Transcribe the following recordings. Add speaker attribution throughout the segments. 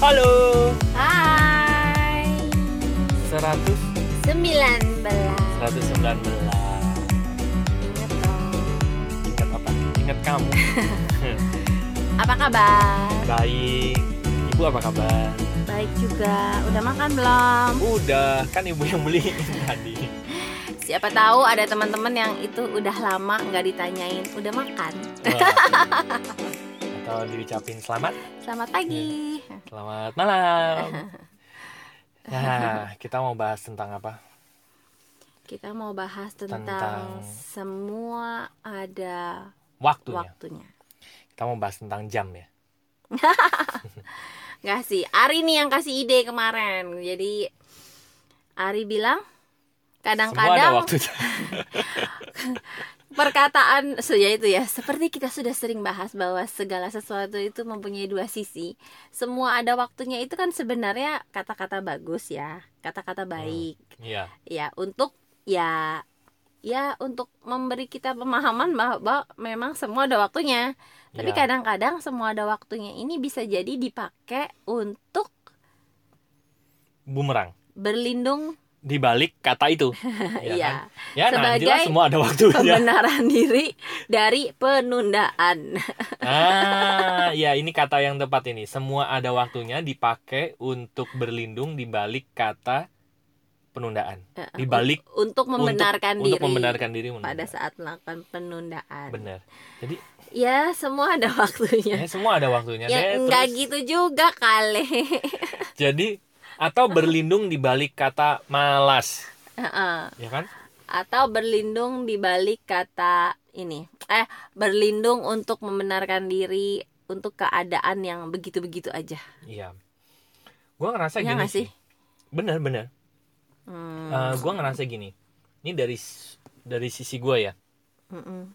Speaker 1: Halo.
Speaker 2: Hai
Speaker 1: 100
Speaker 2: 19 Ingat
Speaker 1: 119.
Speaker 2: dong
Speaker 1: Ingat apa? Ingat kamu.
Speaker 2: Apa kabar?
Speaker 1: Baik. Ibu apa kabar?
Speaker 2: Baik juga Udah makan belum?
Speaker 1: Udah, kan ibu yang beliin tadi.
Speaker 2: Siapa tahu ada teman-teman yang itu udah lama nggak ditanyain Udah makan?
Speaker 1: Wah. Atau diucapin selamat,
Speaker 2: Selamat pagi
Speaker 1: selamat malam. Nah, kita mau bahas tentang apa?
Speaker 2: Kita mau bahas tentang,
Speaker 1: Tentang-
Speaker 2: semua ada
Speaker 1: Waktunya.
Speaker 2: waktunya
Speaker 1: Kita mau bahas tentang jam ya.
Speaker 2: Nggak sih, Ari nih yang kasih ide kemarin Jadi Ari bilang
Speaker 1: Semua ada
Speaker 2: Kadang-kadang
Speaker 1: waktunya.
Speaker 2: perkataan sejak itu ya seperti kita sudah sering bahas bahwa segala sesuatu itu mempunyai dua sisi semua ada waktunya itu kan sebenarnya kata-kata bagus ya
Speaker 1: Hmm.
Speaker 2: kata-kata baik
Speaker 1: Iya.
Speaker 2: ya untuk ya ya untuk memberi kita pemahaman bahwa memang semua ada waktunya tapi
Speaker 1: Iya.
Speaker 2: kadang-kadang semua ada waktunya ini bisa jadi dipakai untuk
Speaker 1: Bumerang.
Speaker 2: berlindung
Speaker 1: Di balik kata itu.
Speaker 2: ya,
Speaker 1: kan? Ya, nah,
Speaker 2: Sebagai
Speaker 1: jelas semua ada waktunya.
Speaker 2: pembenaran diri dari penundaan
Speaker 1: Ah, ya ini kata yang tepat ini. Semua ada waktunya dipakai untuk berlindung di balik kata penundaan. Di balik
Speaker 2: untuk membenarkan
Speaker 1: untuk,
Speaker 2: diri
Speaker 1: untuk membenarkan diri menunda.
Speaker 2: pada saat melakukan penundaan.
Speaker 1: Hmm. Benar.
Speaker 2: Ya, semua ada waktunya.
Speaker 1: Ya, semua ada waktunya.
Speaker 2: Ya,
Speaker 1: deh.
Speaker 2: enggak
Speaker 1: Terus,
Speaker 2: gitu juga kali.
Speaker 1: Jadi atau berlindung di balik kata malas,
Speaker 2: Heeh.
Speaker 1: ya kan?
Speaker 2: Atau berlindung di balik kata ini. Eh, berlindung untuk membenarkan diri untuk keadaan yang begitu-begitu aja.
Speaker 1: Iya. Gua ngerasa gini
Speaker 2: Iya nggak sih?
Speaker 1: Benar, benar.
Speaker 2: Hmm.
Speaker 1: Eh, gua ngerasa gini. Ini dari s- dari sisi gua ya.
Speaker 2: Mm-mm.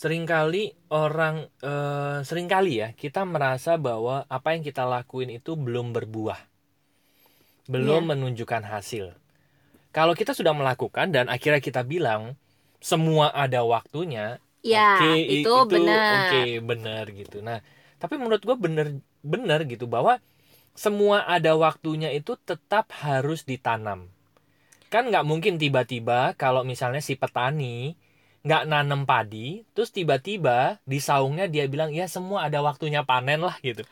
Speaker 1: seringkali orang eh, seringkali ya kita merasa bahwa apa yang kita lakuin itu belum berbuah belum menunjukkan hasil kalau kita sudah melakukan dan akhirnya kita bilang semua ada waktunya
Speaker 2: Ya,
Speaker 1: oke, i-
Speaker 2: itu, benar.
Speaker 1: oke benar gitu nah tapi menurut gue benar benar gitu bahwa semua ada waktunya itu tetap harus ditanam kan nggak mungkin tiba-tiba kalau misalnya si petani nggak nanam padi terus tiba-tiba di saungnya dia bilang ya semua ada waktunya panen lah gitu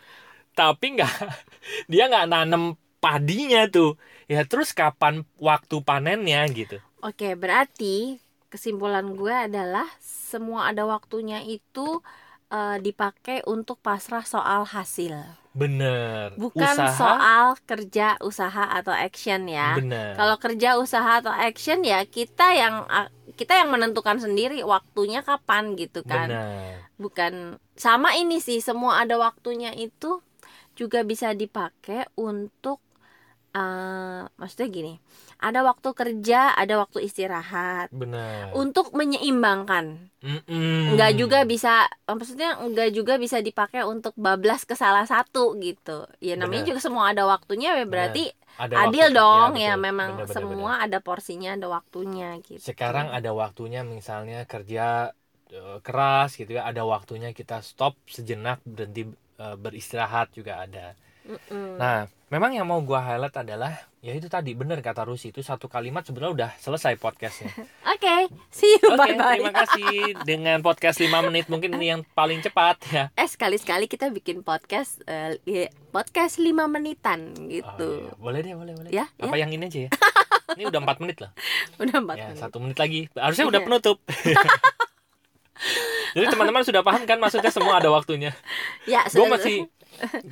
Speaker 1: tapi nggak dia nggak nanam padinya tuh ya terus kapan waktu panennya gitu
Speaker 2: Oke, berarti kesimpulan gue adalah semua ada waktunya itu eh, dipakai untuk pasrah soal hasil,
Speaker 1: bener
Speaker 2: bukan
Speaker 1: usaha
Speaker 2: soal kerja, usaha atau action ya.
Speaker 1: bener
Speaker 2: Kalau kerja, usaha atau action ya kita yang kita yang menentukan sendiri waktunya kapan gitu kan.
Speaker 1: bener
Speaker 2: Bukan sama ini sih, semua ada waktunya itu juga bisa dipakai untuk eh, maksudnya gini, ada waktu kerja, ada waktu istirahat
Speaker 1: benar
Speaker 2: untuk menyeimbangkan.
Speaker 1: Mm-mm.
Speaker 2: Enggak juga bisa eh, maksudnya enggak juga bisa dipakai untuk bablas ke salah satu gitu. Ya namanya
Speaker 1: Benar.
Speaker 2: juga semua ada waktunya ya berarti
Speaker 1: Ada
Speaker 2: adil
Speaker 1: waktu-
Speaker 2: dong
Speaker 1: betul.
Speaker 2: ya, memang
Speaker 1: Benar, benar,
Speaker 2: semua ada porsinya, ada waktunya gitu.
Speaker 1: benar. sekarang ada waktunya misalnya kerja eh, keras gitu ya ada waktunya kita stop sejenak berhenti eh, beristirahat juga ada
Speaker 2: Mm-mm.
Speaker 1: Nah, memang yang mau gua highlight adalah ya itu tadi bener kata Rusi itu satu kalimat sebenarnya udah selesai podcastnya.
Speaker 2: Oke, see you
Speaker 1: Oke,
Speaker 2: bye bye.
Speaker 1: terima kasih dengan podcast 5 menit mungkin ini yang paling cepat ya.
Speaker 2: Eh sekali-sekali kita bikin podcast eh, li- podcast 5 menitan
Speaker 1: Oh,
Speaker 2: gitu.
Speaker 1: iya. Boleh deh, boleh, boleh.
Speaker 2: Ya,
Speaker 1: Apa yang ini aja ya? Ini udah 4 menit loh.
Speaker 2: Udah empat
Speaker 1: Ya,
Speaker 2: menit.
Speaker 1: satu menit lagi. Harusnya udah
Speaker 2: Iya.
Speaker 1: penutup. Jadi teman-teman sudah paham kan maksudnya semua ada waktunya.
Speaker 2: Ya,
Speaker 1: gue
Speaker 2: sudah-
Speaker 1: masih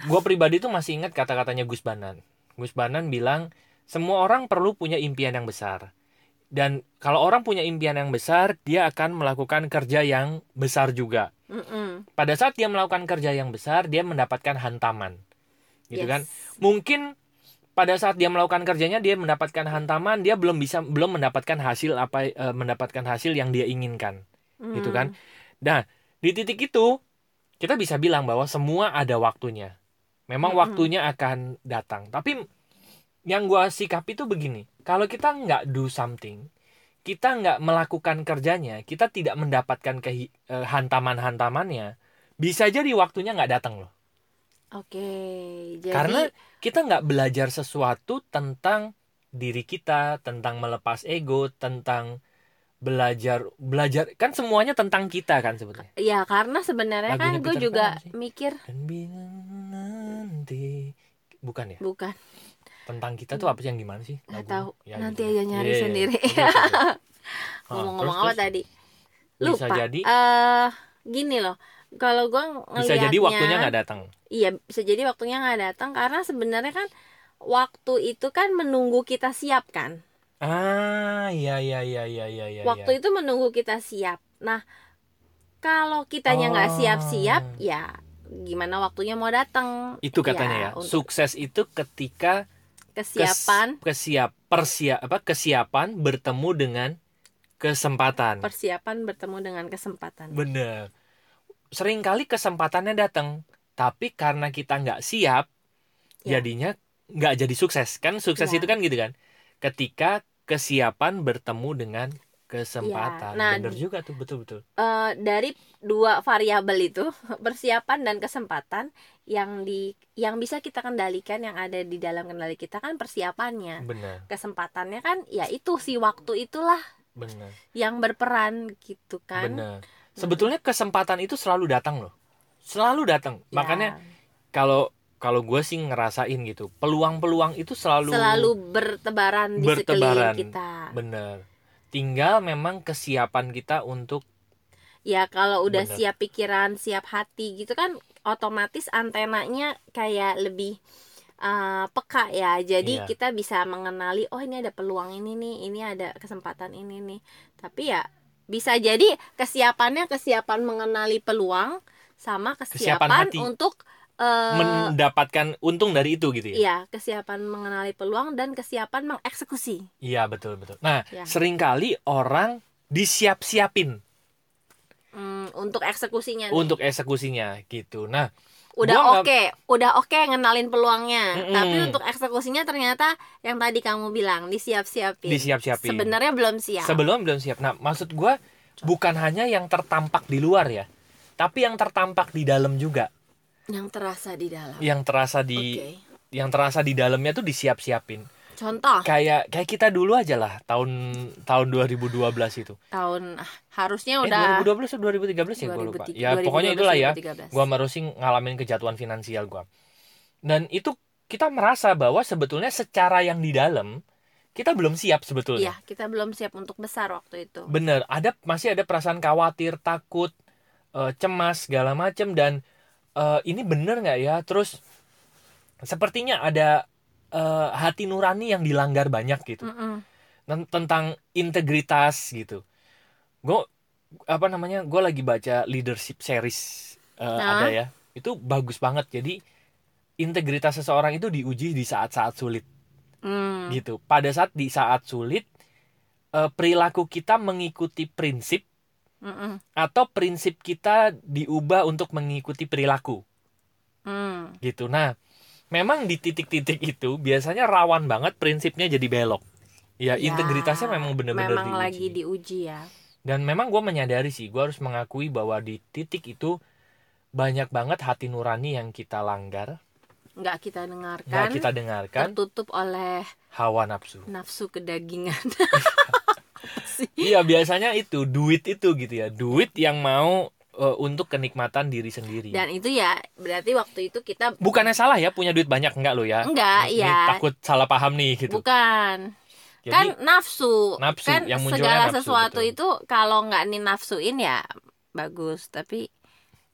Speaker 1: gue pribadi tuh masih ingat kata-katanya Gus Banan Gus Banan bilang semua orang perlu punya impian yang besar dan kalau orang punya impian yang besar dia akan melakukan kerja yang besar juga
Speaker 2: Mm-mm.
Speaker 1: pada saat dia melakukan kerja yang besar dia mendapatkan hantaman gitu
Speaker 2: Yes.
Speaker 1: kan mungkin pada saat dia melakukan kerjanya dia mendapatkan hantaman dia belum bisa belum mendapatkan hasil apa eh, mendapatkan hasil yang dia inginkan gitu
Speaker 2: Mm.
Speaker 1: kan. di titik itu kita bisa bilang bahwa semua ada waktunya. Memang
Speaker 2: Mm-mm.
Speaker 1: waktunya akan datang. Tapi yang gua sikap itu begini, kalau kita nggak do something, kita nggak melakukan kerjanya, kita tidak e, mendapatkan kehi- eh, hantaman-hantamannya, bisa jadi waktunya nggak datang loh.
Speaker 2: Oke, jadi
Speaker 1: Karena kita nggak belajar sesuatu tentang diri kita, tentang melepas ego, tentang belajar belajar kan semuanya tentang kita kan sebetulnya.
Speaker 2: ya karena sebenarnya
Speaker 1: Lagunya
Speaker 2: kan gue
Speaker 1: Peter
Speaker 2: juga
Speaker 1: Pan sih.
Speaker 2: mikir
Speaker 1: Dan bila Kan nanti bukan ya?
Speaker 2: bukan
Speaker 1: Tentang kita tuh apa sih yang gimana sih?
Speaker 2: Nggak
Speaker 1: lagunya?
Speaker 2: tahu.
Speaker 1: Ya,
Speaker 2: Nanti
Speaker 1: gitu.
Speaker 2: aja nyari
Speaker 1: Iya, iya,
Speaker 2: sendiri.
Speaker 1: iya. Iya, iya. Ah,
Speaker 2: ngomong-ngomong
Speaker 1: terus,
Speaker 2: apa
Speaker 1: terus?
Speaker 2: tadi
Speaker 1: Bisa
Speaker 2: lupa
Speaker 1: jadi
Speaker 2: Eh, gini loh kalau gue ngelihatnya
Speaker 1: bisa jadi waktunya nggak datang.
Speaker 2: iya bisa jadi waktunya nggak datang karena sebenarnya kan waktu itu kan menunggu kita siap kan
Speaker 1: Ah, iya iya iya iya iya iya.
Speaker 2: waktu itu menunggu kita siap nah kalau kitanya nggak
Speaker 1: Oh.
Speaker 2: siap-siap ya gimana waktunya mau datang
Speaker 1: itu katanya ya,
Speaker 2: untuk
Speaker 1: sukses itu ketika kes-
Speaker 2: kesiapan
Speaker 1: kesiap persia apa kesiapan bertemu dengan kesempatan.
Speaker 2: persiapan bertemu dengan kesempatan
Speaker 1: Bener. Seringkali kesempatannya datang, tapi karena kita nggak siap,
Speaker 2: Ya.
Speaker 1: jadinya nggak jadi sukses. Kan sukses
Speaker 2: Ya.
Speaker 1: itu kan gitu kan. Ketika kesiapan bertemu dengan kesempatan.
Speaker 2: Ya. Nah,
Speaker 1: Bener juga tuh, betul-betul.
Speaker 2: Eh, dari dua variabel itu persiapan dan kesempatan yang di yang bisa kita kendalikan yang ada di dalam kendali kita kan persiapannya
Speaker 1: Bener,
Speaker 2: kesempatannya kan ya itu si waktu itulah
Speaker 1: bener,
Speaker 2: yang berperan gitu kan
Speaker 1: bener. Sebetulnya kesempatan itu selalu datang loh. Selalu datang.
Speaker 2: Ya,
Speaker 1: Makanya kalau kalau gue sih ngerasain gitu, peluang-peluang itu selalu,
Speaker 2: selalu bertebaran di
Speaker 1: Bertebaran.
Speaker 2: sekeliling kita
Speaker 1: bener. Tinggal memang kesiapan kita untuk
Speaker 2: ya kalau udah
Speaker 1: Bener.
Speaker 2: siap pikiran siap hati gitu kan otomatis antenanya kayak lebih eh, peka ya
Speaker 1: Iya.
Speaker 2: jadi kita bisa mengenali oh ini ada peluang ini nih ini ada kesempatan ini nih tapi ya bisa jadi kesiapannya kesiapan mengenali peluang sama kesiapan,
Speaker 1: hati.
Speaker 2: untuk eh,
Speaker 1: mendapatkan untung dari itu gitu ya.
Speaker 2: Iya, kesiapan mengenali peluang dan kesiapan mengeksekusi.
Speaker 1: Iya betul betul. Nah
Speaker 2: Iya.
Speaker 1: seringkali orang disiap-siapin
Speaker 2: Hmm, untuk eksekusinya nih.
Speaker 1: untuk eksekusinya gitu. Nah gua
Speaker 2: udah
Speaker 1: nggak-
Speaker 2: oke, udah oke ngenalin peluangnya,
Speaker 1: Mm-mm.
Speaker 2: tapi untuk eksekusinya ternyata yang tadi kamu bilang disiap-siapin.
Speaker 1: disiap-siapin.
Speaker 2: Sebenarnya belum siap.
Speaker 1: Sebelum belum siap. Nah maksud gua bukan hanya yang tertampak di luar ya, tapi yang tertampak di dalam juga,
Speaker 2: yang terasa di dalam.
Speaker 1: yang terasa
Speaker 2: Oke.
Speaker 1: di yang terasa di dalamnya tuh disiap-siapin.
Speaker 2: Contoh
Speaker 1: Kayak kayak kita dulu aja lah tahun tahun 2012 itu.
Speaker 2: tahun ah, harusnya
Speaker 1: Eh
Speaker 2: udah
Speaker 1: 2012 atau 2013 ya gue lupa.
Speaker 2: 2003,
Speaker 1: Ya pokoknya itulah ya.
Speaker 2: 2013.
Speaker 1: gua marusin ngalamin kejatuhan finansial gua. Dan itu kita merasa bahwa sebetulnya secara yang di dalam kita belum siap
Speaker 2: Iya,
Speaker 1: sebetulnya.
Speaker 2: kita belum siap untuk besar waktu itu.
Speaker 1: Bener, ada masih ada perasaan khawatir, takut, eh, cemas segala macem dan eh, ini bener nggak ya? Terus sepertinya ada eh, hati nurani yang dilanggar banyak gitu.
Speaker 2: Mm-mm.
Speaker 1: Nen- tentang integritas gitu. Gue apa namanya? Gue lagi baca leadership series eh, ada
Speaker 2: Nah.
Speaker 1: ya. Itu bagus banget. Jadi integritas seseorang itu diuji di saat-saat sulit
Speaker 2: Mm.
Speaker 1: gitu. Pada saat di saat sulit eh, perilaku kita mengikuti prinsip
Speaker 2: Mm-mm.
Speaker 1: atau prinsip kita diubah untuk mengikuti perilaku
Speaker 2: Mm.
Speaker 1: gitu. Nah, memang di titik-titik itu biasanya rawan banget prinsipnya jadi belok. Ya,
Speaker 2: Ya,
Speaker 1: integritasnya memang benar-benar
Speaker 2: memang
Speaker 1: diuji.
Speaker 2: lagi diuji ya.
Speaker 1: Dan memang gue menyadari sih, gue harus mengakui bahwa di titik itu banyak banget hati nurani yang kita langgar,
Speaker 2: nggak kita
Speaker 1: nggak
Speaker 2: dengarkan,
Speaker 1: kita dengarkan,
Speaker 2: tertutup oleh
Speaker 1: hawa nafsu.
Speaker 2: nafsu kedagingan. Apa sih?
Speaker 1: Iya biasanya itu duit itu gitu ya, duit yang mau eh, untuk kenikmatan diri sendiri.
Speaker 2: Dan itu ya berarti waktu itu kita
Speaker 1: Bukannya salah ya punya duit banyak nggak lo ya?
Speaker 2: enggak
Speaker 1: Ini
Speaker 2: ya.
Speaker 1: Takut salah paham nih gitu.
Speaker 2: Bukan. kan
Speaker 1: Jadi
Speaker 2: nafsu.
Speaker 1: nafsu,
Speaker 2: kan
Speaker 1: yang munculnya
Speaker 2: segala
Speaker 1: nafsu,
Speaker 2: sesuatu
Speaker 1: betul.
Speaker 2: itu kalau nggak ninafsuin ya bagus, tapi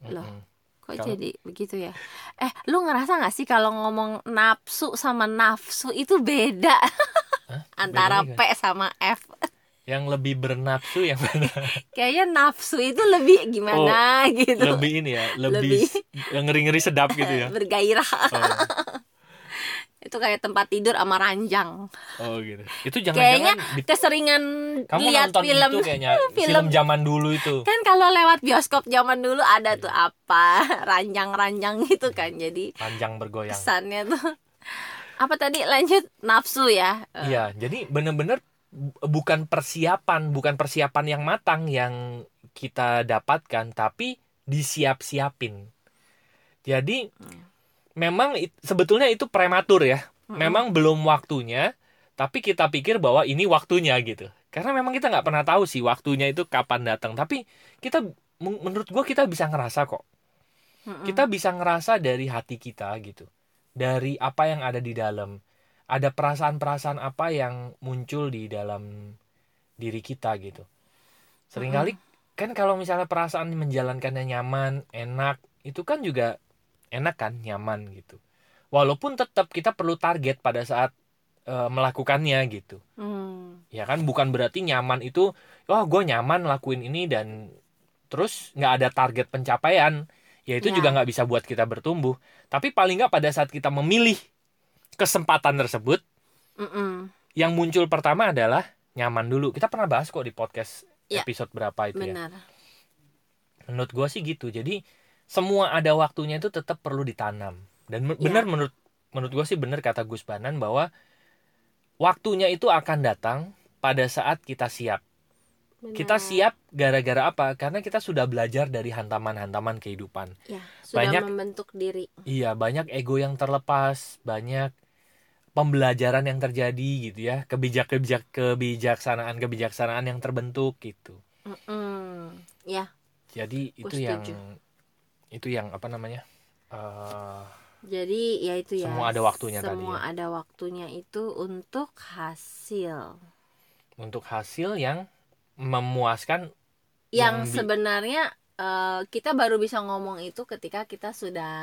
Speaker 2: loh
Speaker 1: Mm-mm.
Speaker 2: kok
Speaker 1: Kalau-
Speaker 2: jadi begitu ya? Eh, lu ngerasa nggak sih kalau ngomong nafsu sama nafsu itu beda antara P
Speaker 1: bedanya
Speaker 2: sama F?
Speaker 1: yang lebih bernafsu yang mana?
Speaker 2: Kayaknya nafsu itu lebih gimana gitu.
Speaker 1: Oh, lebih ini ya, lebih, ngeri-ngeri sedap gitu ya.
Speaker 2: bergairah
Speaker 1: Oh,
Speaker 2: itu kayak tempat tidur sama ranjang
Speaker 1: oh gitu. Itu jangan-jangan di-
Speaker 2: keseringan
Speaker 1: kamu
Speaker 2: lihat
Speaker 1: nonton
Speaker 2: film
Speaker 1: itu kayaknya film.
Speaker 2: Film.
Speaker 1: zaman dulu itu.
Speaker 2: kan kalau lewat bioskop zaman dulu ada tuh
Speaker 1: Iya.
Speaker 2: apa ranjang-ranjang gitu kan jadi
Speaker 1: panjang bergoyang.
Speaker 2: kesannya tuh apa tadi lanjut nafsu ya Eh,
Speaker 1: Iya, jadi bener-bener bu- bukan persiapan, bukan persiapan yang matang yang
Speaker 2: Hmm.
Speaker 1: kita dapatkan, tapi disiap-siapin. Jadi memang it- sebetulnya itu prematur ya. Memang belum waktunya, tapi kita pikir bahwa ini waktunya gitu. Karena memang kita nggak pernah tahu sih waktunya itu kapan datang. Tapi kita men- menurut gua kita bisa ngerasa kok.
Speaker 2: Mm-mm.
Speaker 1: Kita bisa ngerasa dari hati kita gitu. Dari apa yang ada di dalam. Ada perasaan-perasaan apa yang muncul di dalam diri kita gitu. Seringkali kan kalau misalnya perasaan menjalankannya nyaman, enak, itu kan juga enak kan, nyaman gitu. Walaupun tetap kita perlu target pada saat eh, melakukannya gitu.
Speaker 2: Mm.
Speaker 1: Ya kan bukan berarti nyaman itu oh gue nyaman lakuin ini dan terus nggak ada target pencapaian ya itu
Speaker 2: Ya.
Speaker 1: juga nggak bisa buat kita bertumbuh tapi paling nggak pada saat kita memilih kesempatan tersebut
Speaker 2: Mm-mm.
Speaker 1: yang muncul pertama adalah nyaman dulu kita pernah bahas kok di podcast
Speaker 2: Ya.
Speaker 1: episode berapa itu ya
Speaker 2: benar
Speaker 1: menurut gue sih gitu jadi semua ada waktunya itu tetap perlu ditanam dan men-
Speaker 2: Iya.
Speaker 1: benar menurut menurut gue sih benar kata Gus Banan bahwa waktunya itu akan datang pada saat kita siap kita
Speaker 2: Benar.
Speaker 1: siap gara-gara apa karena kita sudah belajar dari hantaman-hantaman kehidupan
Speaker 2: ya sudah
Speaker 1: banyak-
Speaker 2: membentuk diri
Speaker 1: iya banyak ego yang terlepas banyak pembelajaran yang terjadi gitu ya kebijak kebijak kebijaksanaan kebijaksanaan yang terbentuk gitu
Speaker 2: Mm-mm.
Speaker 1: jadi
Speaker 2: Gua
Speaker 1: itu yang
Speaker 2: Oh, setuju.
Speaker 1: itu yang apa namanya eh,
Speaker 2: jadi ya itu ya
Speaker 1: Semua ada waktunya tadi ya.
Speaker 2: semua ada waktunya itu untuk hasil
Speaker 1: untuk hasil yang memuaskan
Speaker 2: yang
Speaker 1: Yang di-
Speaker 2: sebenarnya eh, kita baru bisa ngomong itu ketika kita sudah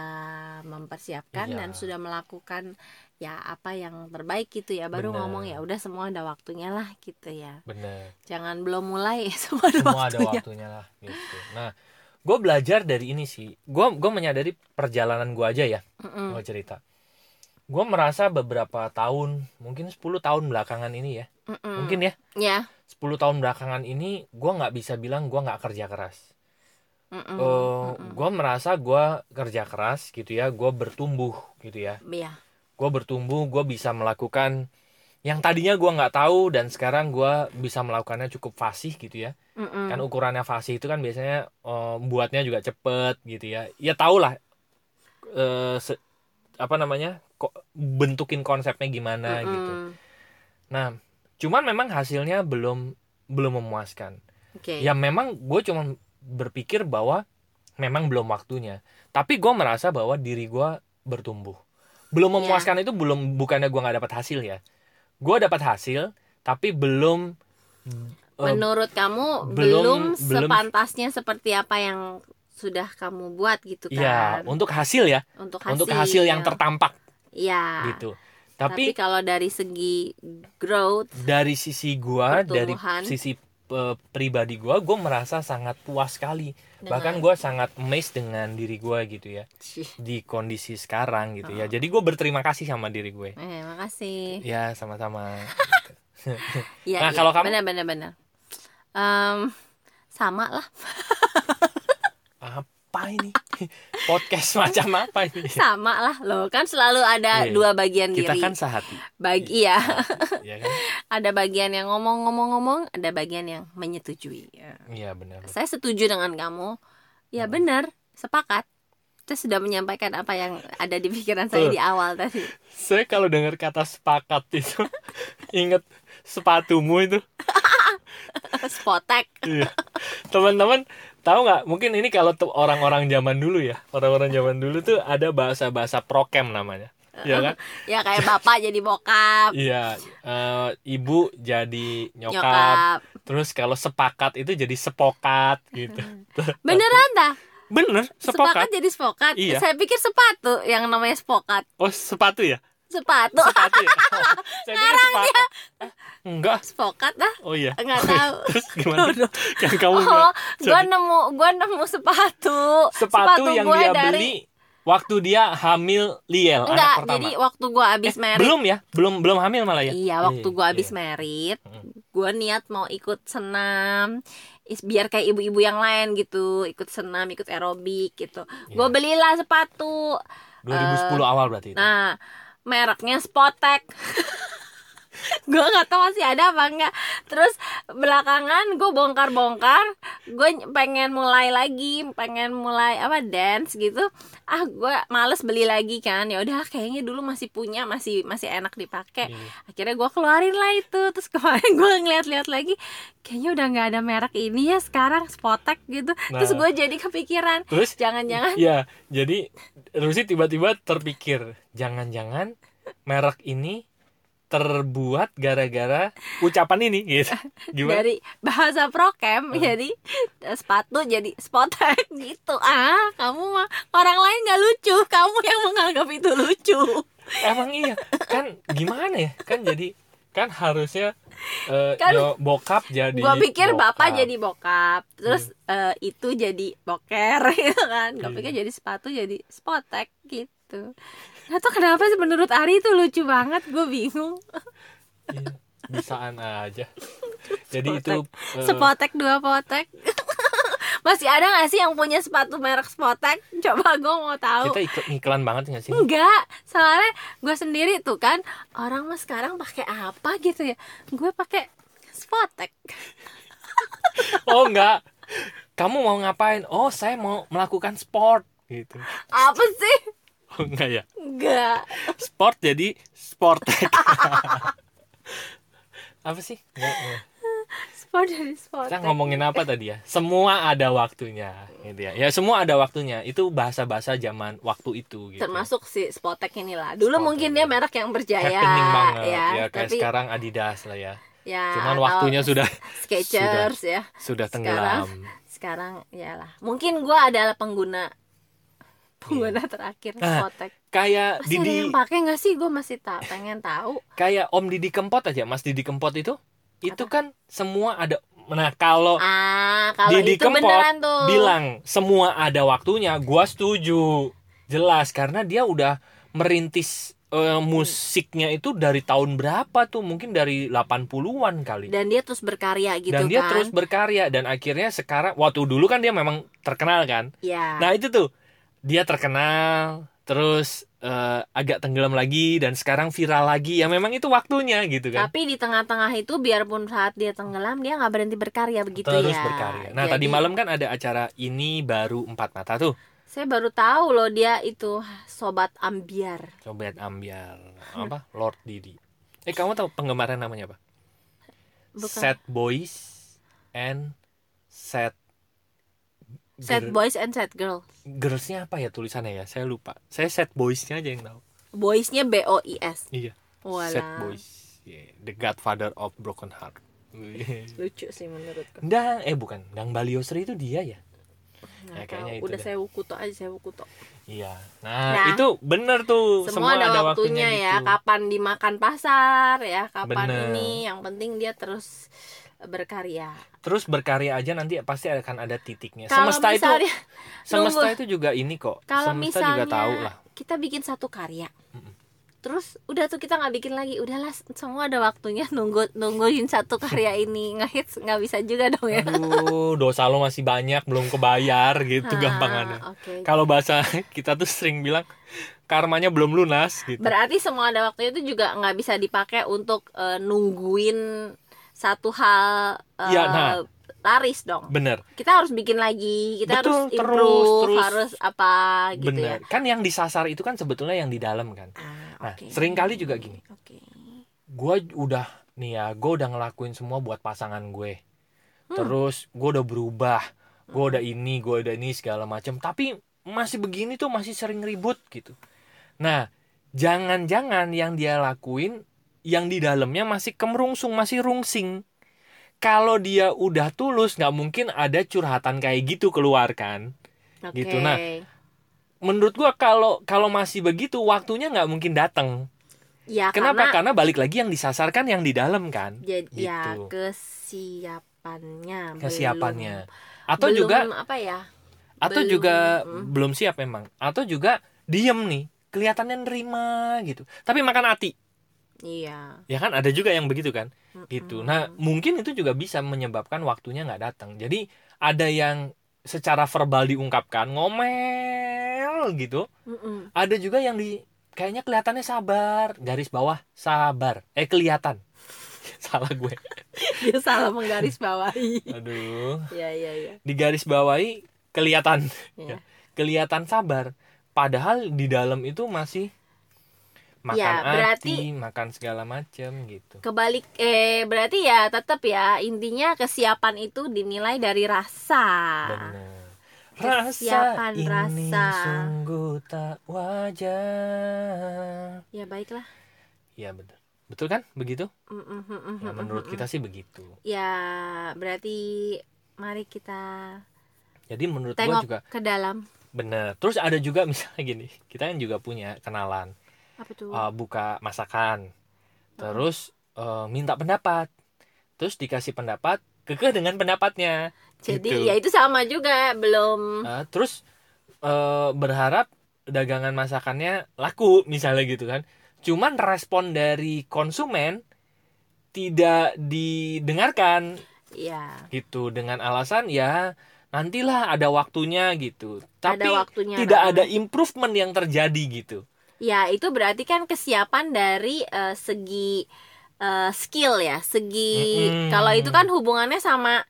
Speaker 2: mempersiapkan
Speaker 1: Iya.
Speaker 2: dan sudah melakukan ya apa yang terbaik gitu ya baru
Speaker 1: Benar.
Speaker 2: ngomong ya udah semua ada waktunya lah gitu ya
Speaker 1: bener
Speaker 2: jangan belum mulai semua ada
Speaker 1: semua ada
Speaker 2: waktunya
Speaker 1: waktunya lah gitu nah gue belajar dari ini sih gue gue menyadari perjalanan gue aja ya
Speaker 2: Mm-mm.
Speaker 1: gue cerita gue merasa beberapa tahun mungkin 10 tahun belakangan ini ya
Speaker 2: Mm-mm.
Speaker 1: mungkin ya
Speaker 2: ya
Speaker 1: 10 tahun belakangan ini gue nggak bisa bilang gue nggak kerja keras
Speaker 2: Mm-mm. Mm-mm.
Speaker 1: gue merasa gue kerja keras gitu ya gue bertumbuh gitu ya
Speaker 2: Iya.
Speaker 1: gue bertumbuh gue bisa melakukan yang tadinya gue nggak tahu dan sekarang gue bisa melakukannya cukup fasih gitu ya
Speaker 2: Mm-mm.
Speaker 1: kan ukurannya fasih itu kan biasanya eh, buatnya juga cepet gitu ya ya tau lah eh, se- apa namanya ko- bentukin konsepnya gimana
Speaker 2: Mm-mm.
Speaker 1: gitu nah cuman memang hasilnya belum belum memuaskan
Speaker 2: oke
Speaker 1: ya memang gue cuman berpikir bahwa memang belum waktunya tapi gue merasa bahwa diri gue bertumbuh belum memuaskan itu belum bukannya gue nggak dapat hasil ya gue dapat hasil tapi belum eh,
Speaker 2: menurut kamu belum,
Speaker 1: belum- belum-
Speaker 2: sepantasnya seperti apa yang sudah kamu buat gitu
Speaker 1: ya
Speaker 2: kan
Speaker 1: untuk hasil ya
Speaker 2: untuk hasil
Speaker 1: untuk hasil yang tertampak
Speaker 2: ya
Speaker 1: gitu tapi,
Speaker 2: Tapi, kalau dari segi growth,
Speaker 1: dari sisi gue dari
Speaker 2: Pertumbuhan.
Speaker 1: sisi eh, pribadi gue gue merasa sangat puas sekali bahkan
Speaker 2: dengan-
Speaker 1: gue sangat amazed dengan diri gue gitu ya
Speaker 2: Cih,
Speaker 1: di kondisi sekarang gitu ya jadi gue berterima kasih sama diri gue
Speaker 2: eh, makasih.
Speaker 1: Ya sama-sama.
Speaker 2: Ya,
Speaker 1: Nah, kalau kamu?
Speaker 2: benar benar benar. Em, sama lah,
Speaker 1: apa ini? Podcast macam apa ini?
Speaker 2: sama lah. Loh, kan selalu ada
Speaker 1: Iya.
Speaker 2: dua bagian
Speaker 1: Kita
Speaker 2: diri.
Speaker 1: kan sehati.
Speaker 2: Bagi ya,
Speaker 1: Ya kan?
Speaker 2: ada bagian yang ngomong-ngomong-ngomong, ada bagian yang menyetujui. Ya.
Speaker 1: Iya benar.
Speaker 2: Saya setuju dengan kamu. Ya
Speaker 1: Hmm.
Speaker 2: benar, sepakat. Saya sudah menyampaikan apa yang ada di pikiran saya
Speaker 1: Betul.
Speaker 2: di awal tadi.
Speaker 1: Saya kalau dengar kata sepakat itu inget sepatumu itu.
Speaker 2: Spotek.
Speaker 1: Iya. Teman-teman tahu nggak? Mungkin ini kalau tuh orang-orang zaman dulu ya, orang-orang zaman dulu tuh ada bahasa-bahasa prokem namanya. Iya kan?
Speaker 2: Ya kayak bapak jadi bokap,
Speaker 1: Iya. eh, ibu jadi nyokap.
Speaker 2: nyokap.
Speaker 1: Terus kalau sepakat itu jadi sepokat gitu.
Speaker 2: Beneran dah?
Speaker 1: Bener,
Speaker 2: Sepakat
Speaker 1: sepokat.
Speaker 2: jadi spokat.
Speaker 1: Iya.
Speaker 2: Saya pikir sepatu yang namanya spokat.
Speaker 1: Oh, sepatu ya?
Speaker 2: Sepatu
Speaker 1: Sepatu ya? Saya pikir sepakat. Eh, enggak.
Speaker 2: spokat dah
Speaker 1: Oh iya.
Speaker 2: nggak tahu.
Speaker 1: Terus gimana? yang kamu
Speaker 2: Oh,
Speaker 1: bilang,
Speaker 2: gua nemu gua nemu sepatu.
Speaker 1: sepatu, yang
Speaker 2: gua
Speaker 1: dia
Speaker 2: dari-
Speaker 1: beli waktu dia hamil Liel
Speaker 2: Enggak,
Speaker 1: anak pertama.
Speaker 2: jadi waktu gua
Speaker 1: Eh,
Speaker 2: abis merit.
Speaker 1: belum ya? Belum belum hamil malah ya?
Speaker 2: Iya, waktu
Speaker 1: Iya,
Speaker 2: gua abis
Speaker 1: iya.
Speaker 2: merit,
Speaker 1: Mm.
Speaker 2: gua niat mau ikut senam. is- Biar kayak ibu-ibu yang lain gitu, ikut senam, ikut aerobik gitu. Gua
Speaker 1: Iya.
Speaker 2: belilah sepatu.
Speaker 1: 2010 awal berarti itu.
Speaker 2: Nah, mereknya Spotek. gue nggak tahu masih ada apa enggak terus belakangan gue bongkar bongkar gue pengen mulai lagi pengen mulai apa dance gitu ah gue males beli lagi kan ya udah kayaknya dulu masih punya masih masih enak dipakai
Speaker 1: Iya.
Speaker 2: akhirnya gue keluarin lah itu terus kemarin gue ngeliat-liat lagi kayaknya udah nggak ada merek ini ya sekarang spotek gitu terus
Speaker 1: Nah.
Speaker 2: gue jadi kepikiran
Speaker 1: Terus
Speaker 2: jangan-jangan
Speaker 1: ya jadi Rusi tiba-tiba terpikir jangan-jangan merek ini terbuat gara-gara ucapan ini gitu. Gimana?
Speaker 2: dari bahasa prokem jadi eh, sepatu jadi spotek gitu ah kamu mah orang lain nggak lucu kamu yang menganggap itu lucu
Speaker 1: Emang iya. Kan gimana ya? Kan jadi kan harusnya eh,
Speaker 2: Kan-
Speaker 1: yo- bokap jadi
Speaker 2: gua pikir bapak
Speaker 1: bokap. Hmm.
Speaker 2: jadi bokap terus eh, itu jadi boker gitu kan gua
Speaker 1: Iya.
Speaker 2: pikir jadi sepatu jadi spotek gitu Nah tuh kenapa sih menurut Ari itu lucu banget gue bingung
Speaker 1: Iya, bisaan aja. Jadi itu eh,
Speaker 2: Spotek dua potek Masih ada gak sih yang punya sepatu merek spotek? Coba gue mau tahu
Speaker 1: kita ikut iklan banget nggak sih?
Speaker 2: Enggak, soalnya gue sendiri tuh kan orang mah sekarang pakai apa gitu ya? Gue pakai spotek.
Speaker 1: Oh enggak. Kamu mau ngapain? Oh, saya mau melakukan sport gitu.
Speaker 2: Apa sih?
Speaker 1: Oh, enggak ya.
Speaker 2: Enggak.
Speaker 1: Sport jadi sportek. apa sih? Enggak, enggak.
Speaker 2: Sport dari spotek.
Speaker 1: Kita ngomongin apa tadi ya? Semua ada waktunya, gitu ya. Ya semua ada waktunya. Itu bahasa-bahasa zaman waktu itu. Gitu.
Speaker 2: termasuk si spotek inilah. Dulu
Speaker 1: Spotek.
Speaker 2: mungkin dia merek yang berjaya
Speaker 1: happening banget
Speaker 2: ya,
Speaker 1: ya, kayak
Speaker 2: tapi
Speaker 1: sekarang Adidas lah ya.
Speaker 2: ya
Speaker 1: Cuman
Speaker 2: atau
Speaker 1: waktunya sudah
Speaker 2: Skechers ya.
Speaker 1: sudah
Speaker 2: Sekarang.
Speaker 1: tenggelam.
Speaker 2: Sekarang yalah. Mungkin gue adalah pengguna pengguna terakhir
Speaker 1: Nah,
Speaker 2: spotek.
Speaker 1: Kayak
Speaker 2: Masih ada
Speaker 1: Didi,
Speaker 2: yang pakai nggak sih? Gue masih tak pengen tahu.
Speaker 1: kayak Om Didi Kempot aja, Mas Didi Kempot itu, itu kan semua ada. Nah kalau
Speaker 2: Ah, kalau
Speaker 1: Didi
Speaker 2: itu
Speaker 1: Kempot
Speaker 2: beneran tuh.
Speaker 1: bilang semua ada waktunya, gua setuju. Jelas karena dia udah merintis eh, musiknya itu dari tahun berapa tuh? Mungkin dari 80-an kali.
Speaker 2: dan dia terus berkarya gitu
Speaker 1: dan dia
Speaker 2: kan
Speaker 1: terus berkarya dan akhirnya sekarang waktu dulu kan dia memang terkenal kan.
Speaker 2: ya
Speaker 1: Nah, itu tuh. Dia terkenal terus eh, agak tenggelam lagi dan sekarang viral lagi. Ya memang itu waktunya gitu kan.
Speaker 2: tapi di tengah-tengah itu biarpun saat dia tenggelam dia nggak berhenti berkarya begitu
Speaker 1: terus
Speaker 2: ya
Speaker 1: berkarya. Nah,
Speaker 2: Jadi,
Speaker 1: tadi malam kan ada acara ini baru empat mata tuh.
Speaker 2: saya baru tahu loh dia itu sobat ambiar
Speaker 1: Sobat Ambiar apa Lord Didi. Eh kamu tahu penggemarnya namanya apa?
Speaker 2: bukan
Speaker 1: Sad Boys and Sad
Speaker 2: sad
Speaker 1: Gir-
Speaker 2: boys and sad girl
Speaker 1: Girls-nya apa ya tulisannya ya? Saya lupa. Saya Sad Boys-nya aja yang tahu.
Speaker 2: boysnya b o i s
Speaker 1: Iya.
Speaker 2: Walah,
Speaker 1: Sad Boys. Yeah, The Godfather of Broken Heart.
Speaker 2: lucu sih menurutku
Speaker 1: Dang, eh bukan, Dang Baliosri itu dia ya? Ya,
Speaker 2: Nggak
Speaker 1: kayaknya
Speaker 2: tahu.
Speaker 1: itu
Speaker 2: udah
Speaker 1: deh.
Speaker 2: saya wukuto aja saya wukuto
Speaker 1: Iya. Nah,
Speaker 2: Nah,
Speaker 1: itu bener tuh.
Speaker 2: semua, ada, waktunya, ya
Speaker 1: gitu.
Speaker 2: kapan dimakan pasar ya kapan
Speaker 1: Bener.
Speaker 2: ini yang penting dia terus berkarya
Speaker 1: Terus berkarya aja nanti pasti akan ada titiknya.
Speaker 2: kalau
Speaker 1: Ya, semesta itu
Speaker 2: misalnya
Speaker 1: semesta
Speaker 2: nunggu.
Speaker 1: itu juga ini kok.
Speaker 2: Kalau
Speaker 1: semesta
Speaker 2: misalnya
Speaker 1: juga tahu lah.
Speaker 2: kita bikin satu karya,
Speaker 1: Mm-mm.
Speaker 2: terus udah tuh kita nggak bikin lagi, udahlah semua ada waktunya nunggu nungguin satu karya ini ngehits nggak bisa juga dong ya.
Speaker 1: Aduh, dosa lo masih banyak belum kebayar gitu
Speaker 2: Ah,
Speaker 1: gampangannya.
Speaker 2: Oke.
Speaker 1: Kalau bahasa kita tuh sering bilang karmanya belum lunas gitu.
Speaker 2: Berarti semua ada waktunya itu juga nggak bisa dipakai untuk eh, nungguin satu hal eh,
Speaker 1: Iya, nah.
Speaker 2: laris dong.
Speaker 1: Bener,
Speaker 2: Kita harus bikin lagi, kita harus
Speaker 1: Betul, terus,
Speaker 2: improve,
Speaker 1: terus.
Speaker 2: harus apa gitu ya.
Speaker 1: bener. Kan yang disasar itu kan sebetulnya yang di dalam kan.
Speaker 2: Ah,
Speaker 1: Nah,
Speaker 2: oke.
Speaker 1: seringkali juga gini.
Speaker 2: Oke.
Speaker 1: Gua udah nih ya, gua udah ngelakuin semua buat pasangan gue. Terus gua udah berubah, gua udah ini, gua udah ini segala macam. Tapi masih begini tuh masih sering ribut gitu. Nah, jangan-jangan yang dia lakuin yang di dalamnya masih kemerungsung, masih rungsing. Kalau dia udah tulus, nggak mungkin ada curhatan kayak gitu keluar kan. Gitu,
Speaker 2: Oke.
Speaker 1: nah. Menurut gua kalau kalau masih begitu waktunya nggak mungkin datang.
Speaker 2: Ya,
Speaker 1: Kenapa?
Speaker 2: karena-
Speaker 1: Karena balik lagi yang disasarkan yang di dalam kan,
Speaker 2: jadi ya
Speaker 1: Gitu.
Speaker 2: kesiapannya
Speaker 1: kesiapannya.
Speaker 2: belum-
Speaker 1: Atau
Speaker 2: belum
Speaker 1: juga
Speaker 2: apa ya
Speaker 1: atau
Speaker 2: belum,
Speaker 1: juga
Speaker 2: mm.
Speaker 1: belum siap memang. Atau juga diem nih, kelihatannya nerima gitu. Tapi makan hati,
Speaker 2: iya
Speaker 1: ya kan? Ada juga yang begitu kan,
Speaker 2: Mm-mm.
Speaker 1: gitu. Nah mungkin itu juga bisa menyebabkan waktunya nggak datang. Jadi ada yang secara verbal diungkapkan ngomel gitu.
Speaker 2: Mm-mm.
Speaker 1: Ada juga yang di kayaknya kelihatannya sabar, garis bawah sabar. Eh kelihatan. Salah gue.
Speaker 2: dia salah menggarisbawahi
Speaker 1: Aduh.
Speaker 2: ya ya ya
Speaker 1: Di garis bawahi kelihatan.
Speaker 2: Ya.
Speaker 1: Ya. Kelihatan sabar. Padahal di dalam itu masih makan
Speaker 2: Ya, berarti-
Speaker 1: hati, makan segala macam gitu.
Speaker 2: kebalik eh berarti ya tetap ya intinya kesiapan itu dinilai dari rasa
Speaker 1: Benar. Rasa
Speaker 2: Ah. Kesiapan
Speaker 1: ini
Speaker 2: rasa.
Speaker 1: sungguh tak wajar.
Speaker 2: ya baiklah
Speaker 1: Ya benar. Betul kan? Begitu?
Speaker 2: Mm, mm, mm, mm,
Speaker 1: Ya,
Speaker 2: mm,
Speaker 1: menurut
Speaker 2: mm, mm.
Speaker 1: kita sih begitu.
Speaker 2: ya berarti mari kita
Speaker 1: Jadi menurut
Speaker 2: tengok
Speaker 1: gua juga
Speaker 2: ke dalam
Speaker 1: benar. Terus ada juga misalnya gini, kita kan juga punya kenalan
Speaker 2: apa tuh
Speaker 1: eh, buka masakan. Terus eh, minta pendapat. Terus dikasih pendapat, kekeh dengan pendapatnya.
Speaker 2: jadi
Speaker 1: gitu.
Speaker 2: ya itu sama juga belum
Speaker 1: Eh, terus eh, berharap dagangan masakannya laku misalnya gitu kan. Cuman respon dari konsumen tidak didengarkan
Speaker 2: ya
Speaker 1: gitu dengan alasan ya nantilah ada waktunya gitu. Tapi
Speaker 2: ada waktunya nah.
Speaker 1: tidak
Speaker 2: Rama.
Speaker 1: ada improvement yang terjadi gitu.
Speaker 2: ya itu berarti kan kesiapan dari eh, segi eh, skill ya segi
Speaker 1: Mm-mm.
Speaker 2: kalau itu kan hubungannya sama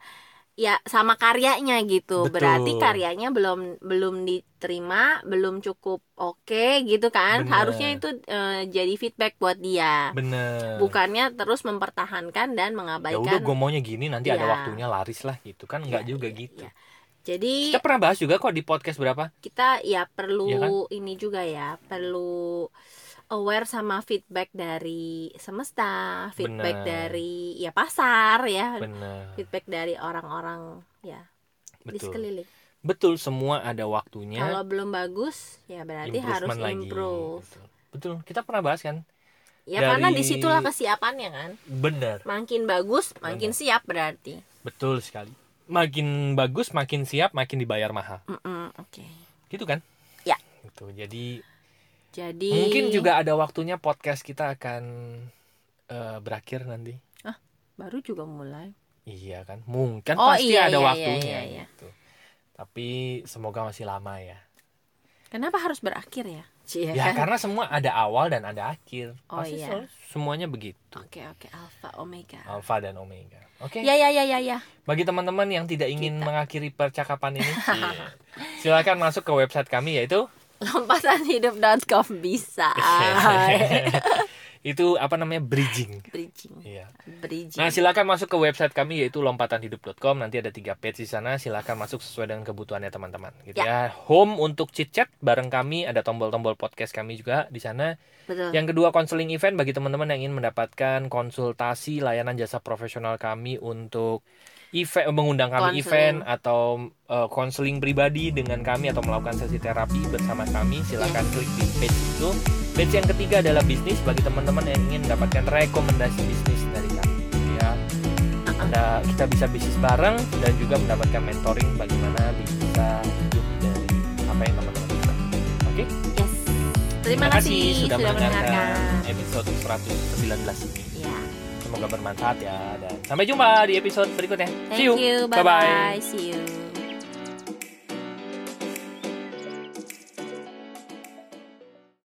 Speaker 2: ya sama karyanya gitu
Speaker 1: Betul.
Speaker 2: berarti karyanya belum belum diterima belum cukup oke gitu kan
Speaker 1: Bener.
Speaker 2: harusnya itu eh, jadi feedback buat dia
Speaker 1: Bener.
Speaker 2: bukannya terus mempertahankan
Speaker 1: ya
Speaker 2: dan
Speaker 1: udah
Speaker 2: mengabaikan
Speaker 1: gue maunya gini nanti ada
Speaker 2: Iya.
Speaker 1: waktunya laris lah gitu kan nggak
Speaker 2: Ya,
Speaker 1: juga
Speaker 2: ya,
Speaker 1: gitu.
Speaker 2: ya. jadi
Speaker 1: Kita pernah bahas juga kok di podcast berapa?
Speaker 2: kita ya perlu
Speaker 1: Iya kan?
Speaker 2: ini juga ya perlu aware sama feedback dari semesta feedback
Speaker 1: Benar.
Speaker 2: dari ya pasar ya
Speaker 1: Bener.
Speaker 2: feedback dari orang-orang ya di
Speaker 1: Betul.
Speaker 2: sekeliling
Speaker 1: Betul semua ada waktunya.
Speaker 2: kalau belum bagus ya berarti harus
Speaker 1: improvement lagi.
Speaker 2: improve
Speaker 1: Betul. Betul. Kita pernah bahas kan?
Speaker 2: ya
Speaker 1: Dari-
Speaker 2: karena disitulah kesiapannya kan
Speaker 1: Bener.
Speaker 2: makin bagus makin siap berarti
Speaker 1: Betul sekali. Makin bagus, makin siap, makin dibayar mahal.
Speaker 2: Mm-mm, oke
Speaker 1: Gitu kan?
Speaker 2: Ya. Iya.
Speaker 1: Gitu. Jadi
Speaker 2: jadi
Speaker 1: mungkin juga ada waktunya podcast kita akan eh, berakhir nanti.
Speaker 2: baru juga mulai
Speaker 1: Iya kan? Mungkin
Speaker 2: Oh,
Speaker 1: pasti ada
Speaker 2: iya, iya, iya,
Speaker 1: waktunya
Speaker 2: iya, iya.
Speaker 1: gitu. Tapi semoga masih lama ya.
Speaker 2: kenapa harus berakhir ya Cie,
Speaker 1: Ya
Speaker 2: kan?
Speaker 1: karena semua ada awal dan ada akhir.
Speaker 2: Oh,
Speaker 1: Pasti
Speaker 2: iya.
Speaker 1: sel- semuanya begitu.
Speaker 2: oke oke alpha omega
Speaker 1: Alfa dan omega. Oke.
Speaker 2: ya ya ya ya ya
Speaker 1: Bagi teman-teman yang tidak ingin
Speaker 2: Kita.
Speaker 1: mengakhiri percakapan ini, iya. silakan masuk ke website kami yaitu
Speaker 2: lompatanhidup.com bisa Ah.
Speaker 1: itu apa namanya bridging.
Speaker 2: bridging
Speaker 1: Iya.
Speaker 2: bridging
Speaker 1: Nah, silakan masuk ke website kami yaitu lompatanhidup.com. Nanti ada tiga page di sana. Silakan masuk sesuai dengan kebutuhannya teman-teman. Gitu ya. Home untuk chit chat bareng kami ada tombol-tombol podcast kami juga di sana.
Speaker 2: betul
Speaker 1: Yang kedua konseling event bagi teman-teman yang ingin mendapatkan konsultasi layanan jasa profesional kami untuk event mengundang kami
Speaker 2: Counseling.
Speaker 1: event atau eh, konseling pribadi dengan kami atau melakukan sesi terapi bersama kami. Silakan klik di page itu. Page yang ketiga adalah bisnis bagi teman-teman yang ingin mendapatkan rekomendasi bisnis dari kami. Ya, Anda kita bisa bisnis bareng dan juga mendapatkan mentoring bagaimana bisa hidup dari apa yang teman-teman bisa. Oke?
Speaker 2: yes terima kasih sudah mendengarkan
Speaker 1: episode 119 ini.
Speaker 2: ya
Speaker 1: Semoga bermanfaat ya dan sampai jumpa di episode berikutnya.
Speaker 2: thank
Speaker 1: See you.
Speaker 2: you bye bye see you